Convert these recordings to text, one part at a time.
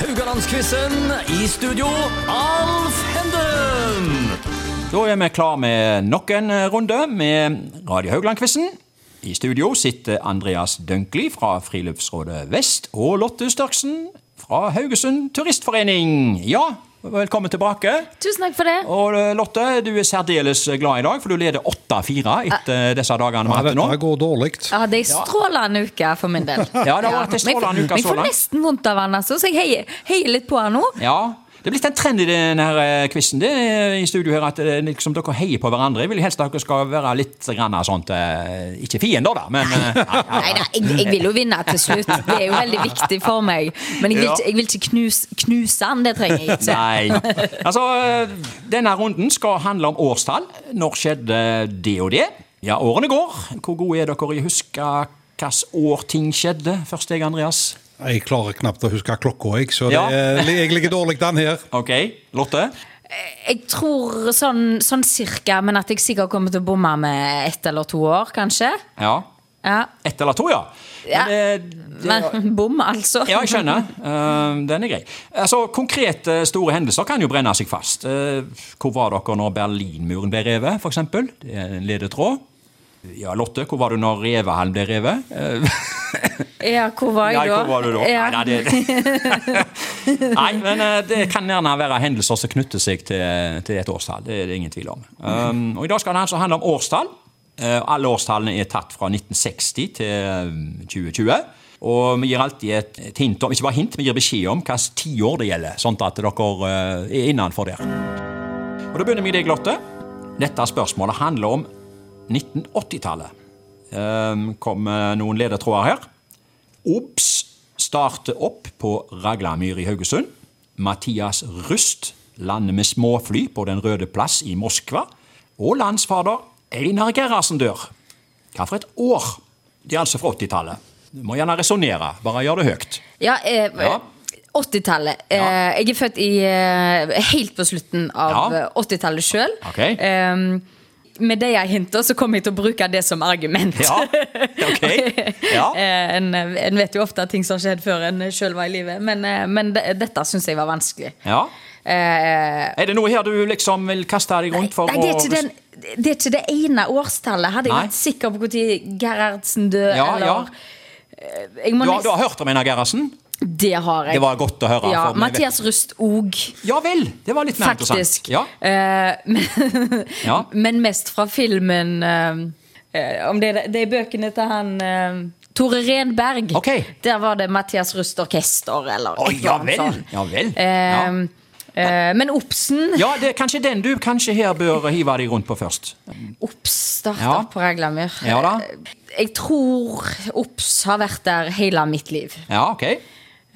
Haugalandsquizen. I studio, Alf Henden. Da er vi klar med nok en eh, runde med Radio Haugland-quizen. I studio sitter Andreas Dønkli fra Friluftsrådet Vest og Lotte Størksen fra Haugesund Turistforening. Ja, velkommen tilbake. Tusen takk for det. Og eh, Lotte, du er særdeles glad i dag, for du leder 8-4 etter disse dagene vi har Nei, hatt dette nå. her går dårlig. Jeg hadde ei strålende uke for min del. Ja, det har vært en strålende uke Men jeg så får langt. nesten vondt av han, altså, så jeg heier, heier litt på han nå. Ja, det er blitt en trend i denne eh, quizen i studio her, at eh, liksom dere heier på hverandre. Jeg vil helst at dere skal være litt grann av sånt eh, Ikke fiender, da, men eh, nei, nei, Nei, nei, jeg, jeg vil jo vinne til slutt. Det er jo veldig viktig for meg. Men jeg vil Ja. ikke, jeg vil ikke knus, knuse han, det trenger jeg ikke. Nei. Altså, eh, denne runden skal handle om årstall. Når skjedde det og det? Ja, årene går. Hvor gode er dere i å huske hvilket år ting skjedde? Først deg, Andreas. Jeg klarer knapt å huske klokka, jeg, så det Ja. er, jeg ligger dårlig an her. Ok, Lotte? Jeg tror sånn, sånn cirka, men at jeg sikkert kommer til å bomme med ett eller to år, kanskje. Ja. Ja. Ett eller to, ja. Ja. Men, eh, det, Men bom, altså. ja, jeg skjønner. Eh, Den er grei. Altså, Konkrete store hendelser kan jo brenne seg fast. Eh, Hvor var dere når Berlinmuren ble revet, f.eks.? Det er en ledetråd. Ja, Lotte, hvor var du når Revehallen ble revet? Eh, Ja, hvor var jeg da? Nei, hvor var du da? Ja. Nei, nei, det... nei, men eh, det kan gjerne være hendelser som knytter seg til, til et årstall. Det er det ingen tvil om. Um, og I dag skal det altså handle om årstall. Eh, alle årstallene er tatt fra 1960 til eh, 2020. Og vi gir alltid et, et hint om, ikke bare hint, vi gir beskjed om hvilket tiår det gjelder. Sånn at dere eh, er innenfor der. Og Da begynner vi i deg, Lotte. Dette spørsmålet handler om 1980-tallet. Um, Kommer noen ledetråder her. OBS starter opp på Raglamyr i Haugesund. Mathias Rust lander med småfly på Den røde plass i Moskva. Og landsfader Einar Gerhardsen dør. Hva for et år? Det er altså fra 80-tallet. Du må gjerne resonnere, bare gjør det høyt. Ja, eh, Ja. 80-tallet. Eh, Ja. jeg er født i, eh, helt på slutten av Ja. eh, 80-tallet sjøl. Ok. med det jeg hinter, så kommer jeg til å bruke det som argument. Ja, ok. Ja. Eh, en, en vet jo ofte at ting som har skjedd før en sjøl var i live, men, eh, men de, dette syns jeg var vanskelig. ja. Eh, Er det noe her du liksom vil kaste deg rundt for nei, det er, å- ikke den, det er ikke det ene årstallet. Hadde jeg Nei. vært sikker på når Gerhardsen døde, Ja, eller ja. Eh, jeg må Du har, nest- du har hørt om Einar Gerhardsen? Det har jeg. Det var godt å høre. ja, for vi vet- Mathias Rust òg. Ja vel! Det var litt mer Faktisk. interessant. Ja, Eh, men, Ja. men mest fra filmen eh, eh, Om det, er- det er bøkene til han eh, Tore Renberg. Ok. Der var det Mathias Rust Orkester, eller Oi, et ja eller annet vel. sånn. Ja vel. Eh, Ja. eh, men Obsen Ja, det er kanskje den du kanskje her bør hive deg rundt på først. Obs starta Ja. på Reglamyr. Ja da. Jeg tror Obs har vært der hele mitt liv. Ja, ok.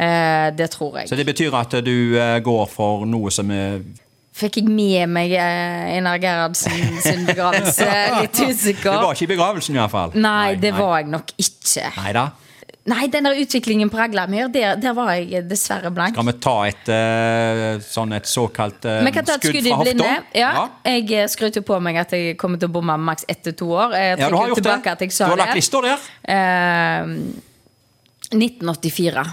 Eh, det tror jeg. Så det betyr at du eh, går for noe som eh, er Fikk jeg med meg eh, Einar Gerhardsen sin begravelse? Litt Du usikker. var ikke i begravelsen, iallfall. Nei, det var jeg nok ikke. Nei da. Nei, den der utviklingen på Raglamyr, der, der var jeg dessverre blank. Skal vi ta et eh, sånn et såkalt eh, Vi kan ta et skudd i blinde. Ja, Ja. Jeg eh, skrøt jo på meg at jeg kommer til å bomme maks ett til to år. Ja, Jeg du har trekker gjort tilbake det. at jeg Du sa har lagt det. lista der. Eh, 1984.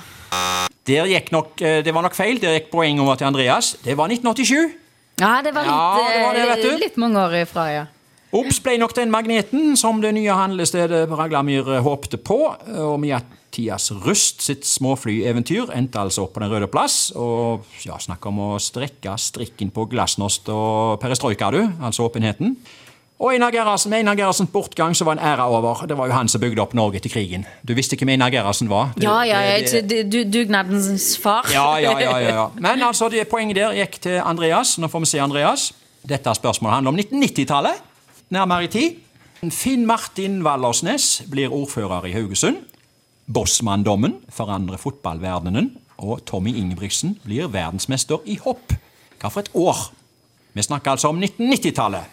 Der gikk nok, eh, det var nok feil. Der gikk poenget over til Andreas. Det var 1987. Ja, det var Ja, litt, det var det, eh, vet du. litt mange år ifra, ja. Obs ble nok den magneten som det nye handlestedet Raglamyr håpte på. eh, Og Mathias Rust sitt småflyeventyr endte altså opp på Den røde plass. Og ja, snakk om å strekke strikken på glasnost og perestrojka, du. Altså åpenheten. Og Einar Gerhardsen, med Einar Gerhardsens bortgang så var en æra over. Det var jo han som bygde opp Norge til krigen. Du visste hvem Einar Gerhardsen var? Det- Ja, ja, ja det- du, du, dugnadens far. ja, ja, ja, ja, ja. Men altså, det poenget der gikk til Andreas. Nå får vi se Andreas. Dette spørsmålet handler om 1990-tallet. Nærmere i tid. Finn Martin Wallersnes blir ordfører i Haugesund. Bossmanndommen forandrer fotballverdenen. Og Tommy Ingebrigtsen blir verdensmester i hopp. Hva for et år? Vi snakker altså om 1990-tallet.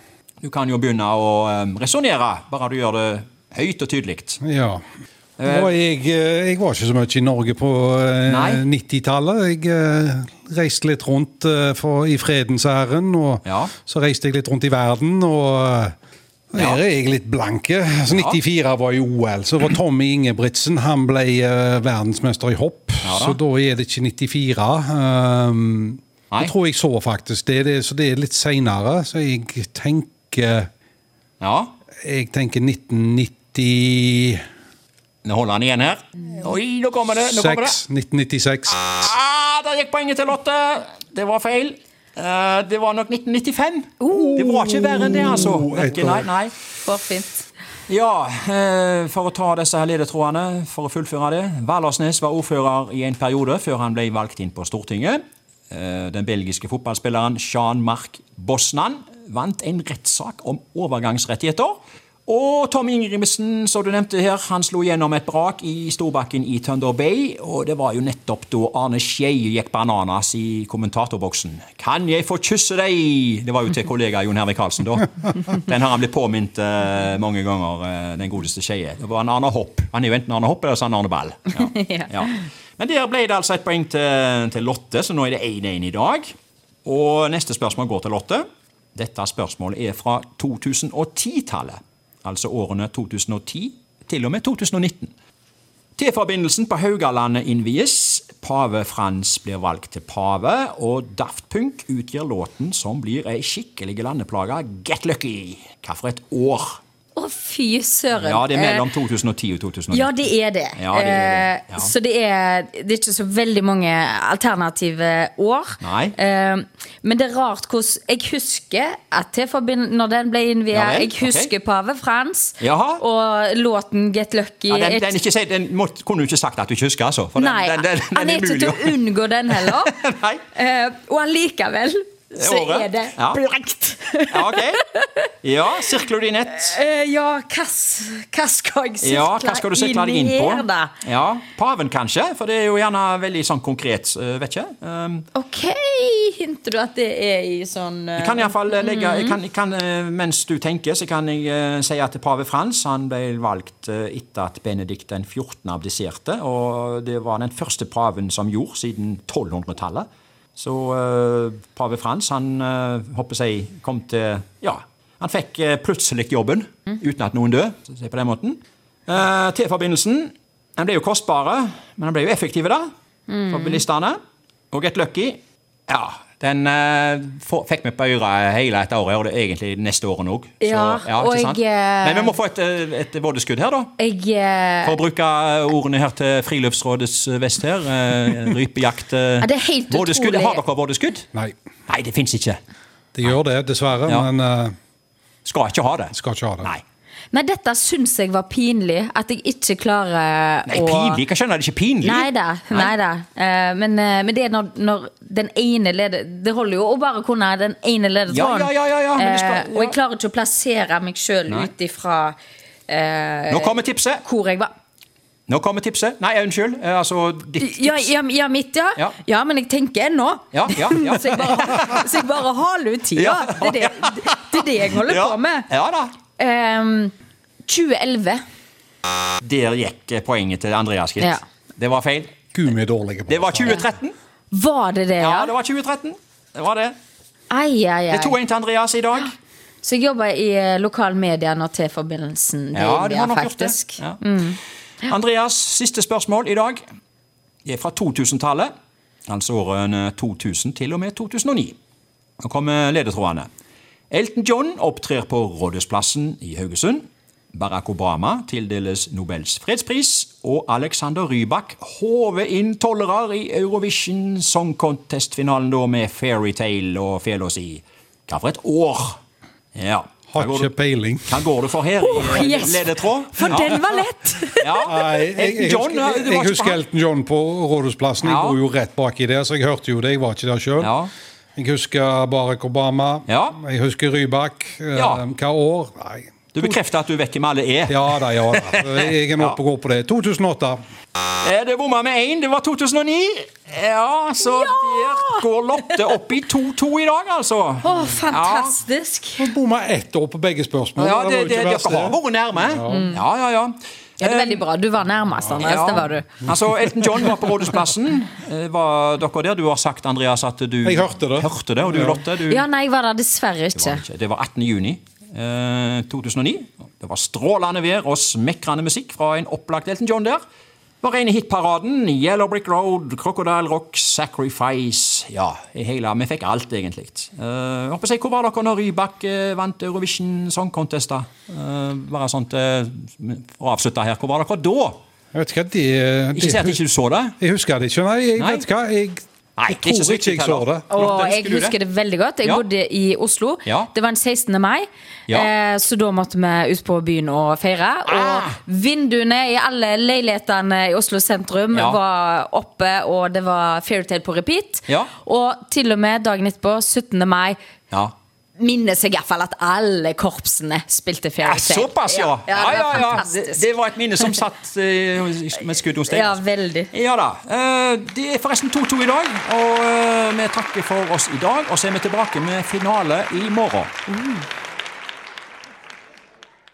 Du kan jo begynne å um, resonnere, bare du gjør det høyt og tydelig. Ja. Og jeg, eh, jeg var ikke så mye i Norge på eh, Nei. 90-tallet. Jeg eh, reiste litt rundt eh, for, i fredens ærend, og Ja. så reiste jeg litt rundt i verden. Og eh, Her er jeg litt blanke. Altså, 94 var jo OL. Så var Tommy Ingebrigtsen han ble eh, verdensmester i hopp. da. så da er det ikke 94. Um, Nei. jeg tror jeg så faktisk det, det så det er litt seinere. Så jeg tenker Ja. Jeg tenker 1996. Nå holder han igjen her. Oi, nå kommer det! Eh, Nå kommer det. 1996. Ah, der gikk poenget til Lotte! Det var feil. Eh, det var nok 1995. det var ikke verre enn det, altså. Oh, et Ikke- Nei, år. nei. For fint. Ja, eh, for å ta disse her ledetrådene, for å fullføre det. Vallersnes var ordfører i en periode før han ble valgt inn på Stortinget. Eh, Den belgiske fotballspilleren Jean-Marc Bosnan vant en rettssak om overgangsrettigheter. Og Tommy Ingebrigtsen, som du nevnte her, han slo gjennom et brak i Storbakken i Thunder Bay. Og det var jo nettopp da Arne Skei gikk bananas i kommentatorboksen. 'Kan jeg få kysse deg?' Det var jo til kollega Jon Hervik Karlsen, da. Den har han blitt påminnet eh, mange ganger, eh, den godeste Skeie. Det var en Arne Hopp. Han er jo enten Arne Hopp eller så er han Arne Ball. Ja. ja. Men der ble det altså et poeng til, til Lotte, så nå er det 1-1 i dag. Og neste spørsmål går til Lotte. Dette spørsmålet er fra 2010-tallet. Altså årene 2010 til og med 2019. T-forbindelsen på Haugalandet innvies. Pave Frans blir valgt til pave, og Daft Punk utgir låten som blir ei skikkelig landeplage, Get Lucky. Hva for et år? Å, fy søren. Ja, det er mellom Eh, 2010 og 2019. Ja, det er det. Ja, det er det, Eh, ja. Så det er, det er ikke så veldig mange alternative år. Nei. Eh, Men det er rart hvordan Jeg husker at T-forbind- når den ble innviet. Ja vel, jeg husker Pave Frans Jaha. og låten 'Get Lucky'. Ja, den, Jeg- den, ikke, si- den må, kunne du ikke sagt at du ikke husker, altså. For den, Nei, den, den, den, han er ikke umulig til å unngå den heller. Nei. Eh, og allikevel så året. er det Ja. blankt. Ja, ok. Ja, sirkler du i nett? Eh, ja, hva s- hva skal jeg sirkle Ja, hva skal du sirkle deg inn på? her, da? Ja, Paven, kanskje? For det er jo gjerne veldig sånn konkret. eh, Vet ikke. Um, Ok, hinter du at det er i sånn eh, Jeg kan i hvert fall legge, jeg kan, jeg kan, eh, mens du tenker, så kan jeg eh, si at pave Frans han ble valgt eh, etter at Benedikt den 14. abdiserte. Og det var den første paven som gjorde siden 1200-tallet. Så eh, pave Frans han eh, håper jeg kom til Ja, han fikk eh, plutselig jobben uten at noen døde. så å si På den måten. Eh, T-forbindelsen den ble jo kostbare, men den ble jo effektive da, for bilistene. Og Get Lucky ja, den eh, få- fikk vi på øret hele dette året, og det er egentlig neste året òg. Ja, og jeg, eh, Men vi må få et, eh, et vådeskudd her, da. Jeg eh, For å bruke ordene her til Friluftsrådets vest her. eh, Rypejakt. eh, Ja, det er helt vådeskudd. utrolig. Har dere vådeskudd? Nei, Nei, det fins ikke. det gjør det, dessverre. Ja. Men eh, Skal ikke ha det. skal ikke ha det. Nei. Nei, dette syns jeg var pinlig. At jeg ikke klarer Nei, å pinlig. Jeg skjønner det ikke pinlig. Nei da. Nei da. Eh, men, eh, men det er når, når den ene leder Det holder jo å bare kunne ha den ene Ja, ledetråden. ja, ja, ja, ja, men det skal- Eh, og jeg klarer ikke å plassere meg sjøl Nei. ut ifra eh, Nå kommer tipset! hvor jeg var. Nå kommer tipset. Nei, unnskyld. Eh, Altså ditt tips. Ja, ja, ja mitt, ja. Ja. ja. men jeg tenker ennå. Ja, ja, ja. så, jeg bare, så jeg bare haler ut tida. Ja, Det, er det, det er det jeg holder ja. på med. Ja da. Ehm, 2011. Der gikk eh, poenget til Andreas, gitt. Ja. Det var feil. Gud, vi er dårlige på Det var dette. 2013. Var det det, Ja, ja? det var 2013. Det var det. Ai, ai, Det ai. er 2-1 til Andreas i dag. Så jeg jobber i eh, lokal media når T-forbindelsen ble Ja, du har innviet, nok gjort det. Mm. faktisk. Ja. Andreas, siste spørsmål i dag Det er fra 2000-tallet. Altså årene 2000 til og med 2009. Nå kommer ledetrådene. Elton John opptrer på Rådhusplassen i Haugesund. Barack Obama tildeles Nobels fredspris, og Alexander Rybak håver inn tollere i Eurovision Song Contest-finalen da med Fairytale og fela si. Hva for et år! Ja. Har Hva går ikke du- peiling. Hva går du for her? Oh, i yes. Ledetråd? For Ja. den var lett! Ja. Nei, jeg, jeg, John, eh, husker, du jeg, var ikke på husker han. Elton John på Rådhusplassen. Jeg Ja. bor jo rett baki der, så jeg hørte jo det. Jeg var ikke der sjøl. Ja. Jeg husker Barack Obama. Ja. Jeg husker Rybak. Eh, Ja. Hva år? Nei. Du bekrefter at du vet hvem alle er. Ja da, ja da. Jeg er nå oppe og går på det. 2008. Eh, Det bomma med én, det var 2009. Ja, så der går Lotte opp i 2-2 i dag, altså. Å, fantastisk. Bomma ett år på begge spørsmål. Ja, det, var det, jo ikke dere verst, har vært nærme. Ja, ja, ja. Mm. Eh, Ja, det er veldig bra. Du var nærmest, Anders. Ja. Det var du. Altså, Elton John var på Rådhusplassen. Eh, Var dere der? Du har sagt, Andreas, at du Jeg hørte det. Hørte det og du, Lotte, du Ja, nei, jeg var der dessverre ikke. Ikke, Det var 18. juni. eh, 2009. Det var strålende vær og smekrende musikk fra en opplagt Elton John der. Var rene hitparaden. Yellow Brick Road, Crocodile Rock, Sacrifice Ja, i hele, vi fikk alt, egentlig. Eh, håper jeg, hvor var dere når Rybak eh, vant Eurovision Song Contest? da? Eh, bare sånt eh, for å avslutte her. Hvor var dere da? Jeg vet ikke hva det, Ikke si at ikke du så det. Jeg husker det ikke. Nei, jeg Nei. vet hva. Jeg, Nei, jeg det er ikke så tror viktig ikke jeg så heller. det. Og Lotte, jeg husker du det? husker det veldig godt. Jeg Ja. bodde i Oslo. Ja. Det var den 16. mai, Ja. eh, så da måtte vi ut på byen og feire. Ah! Og vinduene i alle leilighetene i Oslo sentrum Ja. var oppe, og det var Fairytale på repeat. Ja. Og til og med dagen etterpå, 17. mai, Ja. minnes jeg iallfall at alle korpsene spilte Ja, Fairytale. såpass, ja! Ja, Ja, det ja, var ja. Det, fantastisk. det var et minne som satt eh, med skudd hos deg. Ja, altså. veldig. Ja da. eh, Det er forresten 2-2 i dag, og eh, vi takker for oss i dag. Og så er vi tilbake med finale i morgen.